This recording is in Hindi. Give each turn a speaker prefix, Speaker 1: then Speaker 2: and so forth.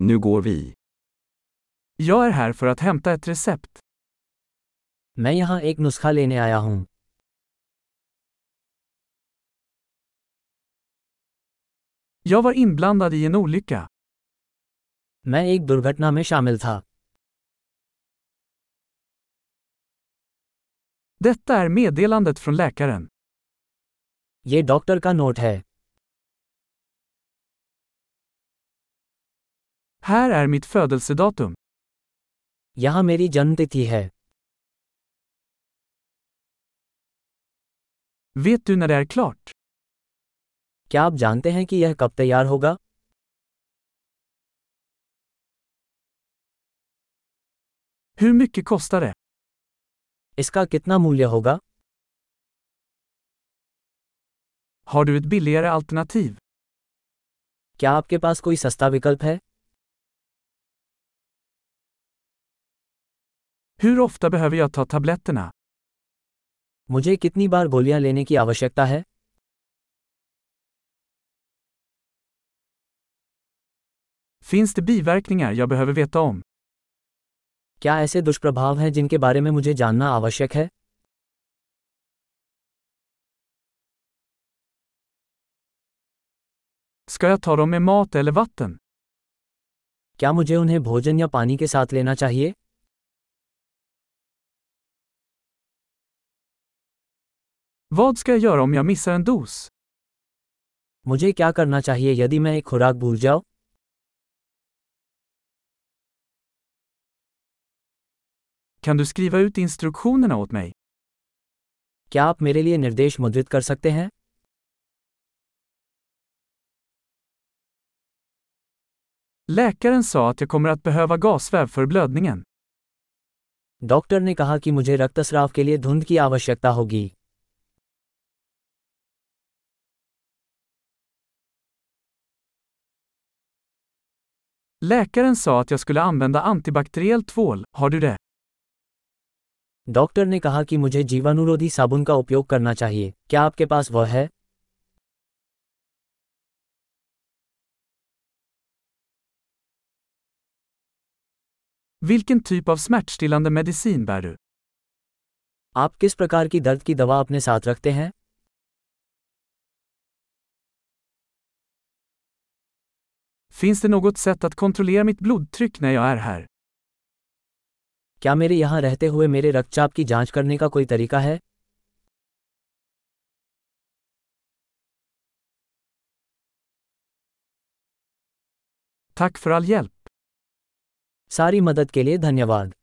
Speaker 1: Nu går vi.
Speaker 2: Jag är här för att hämta ett recept.
Speaker 3: मैं यहाँ एक नुस्खा लेने आया हूँ
Speaker 2: Jag var inblandad i en olycka.
Speaker 3: मैं एक दुर्घटना में शामिल था
Speaker 2: Detta är meddelandet från läkaren.
Speaker 3: ये डॉक्टर का नोट है
Speaker 2: Här är mitt födelsedatum.
Speaker 3: यहाँ मेरी जन्मतिथि है
Speaker 2: Vet du när det är klart?
Speaker 3: क्या आप जानते हैं कि यह कब तैयार होगा
Speaker 2: Hur mycket kostar det?
Speaker 3: इसका कितना मूल्य होगा
Speaker 2: Har du ett billigare alternativ?
Speaker 3: क्या आपके पास कोई सस्ता विकल्प है
Speaker 2: Hur ofta behöver jag ta tabletterna?
Speaker 3: मुझे कितनी बार गोलियां लेने की आवश्यकता है
Speaker 2: Finns det biverkningar jag behöver veta om?
Speaker 3: क्या ऐसे दुष्प्रभाव हैं जिनके बारे में मुझे जानना आवश्यक है
Speaker 2: Ska jag ta dem med mat eller vatten?
Speaker 3: क्या मुझे उन्हें भोजन या पानी के साथ लेना चाहिए
Speaker 2: Vad ska jag göra om jag missar en dos?
Speaker 3: मुझे क्या करना चाहिए यदि मैं एक खुराक भूल जाऊं
Speaker 2: Kan du skriva ut instruktionerna åt mig?
Speaker 3: क्या आप मेरे लिए निर्देश मुद्रित कर सकते हैं
Speaker 2: Läkaren sa att jag kommer att behöva gasväv för blödningen.
Speaker 3: Doctor ने कहा कि मुझे रक्तस्राव के लिए धुंध की आवश्यकता होगी
Speaker 2: Läkaren sa att jag skulle använda antibakteriell tvål, har du det?
Speaker 3: Doctor ने कहा कि मुझे जीवाणुरोधी साबुन का उपयोग करना चाहिए क्या आपके पास वह है
Speaker 2: Vilken typ av smärtstillande medicin bär du?
Speaker 3: आप किस प्रकार की दर्द की दवा अपने साथ रखते हैं
Speaker 2: Finns det något sätt att kontrollera mitt blodtryck när jag är här?
Speaker 3: क्या मेरे यहाँ रहते हुए मेरे रक्तचाप की जांच करने का कोई तरीका है
Speaker 2: Tack för all hjälp.
Speaker 3: सारी मदद के लिए धन्यवाद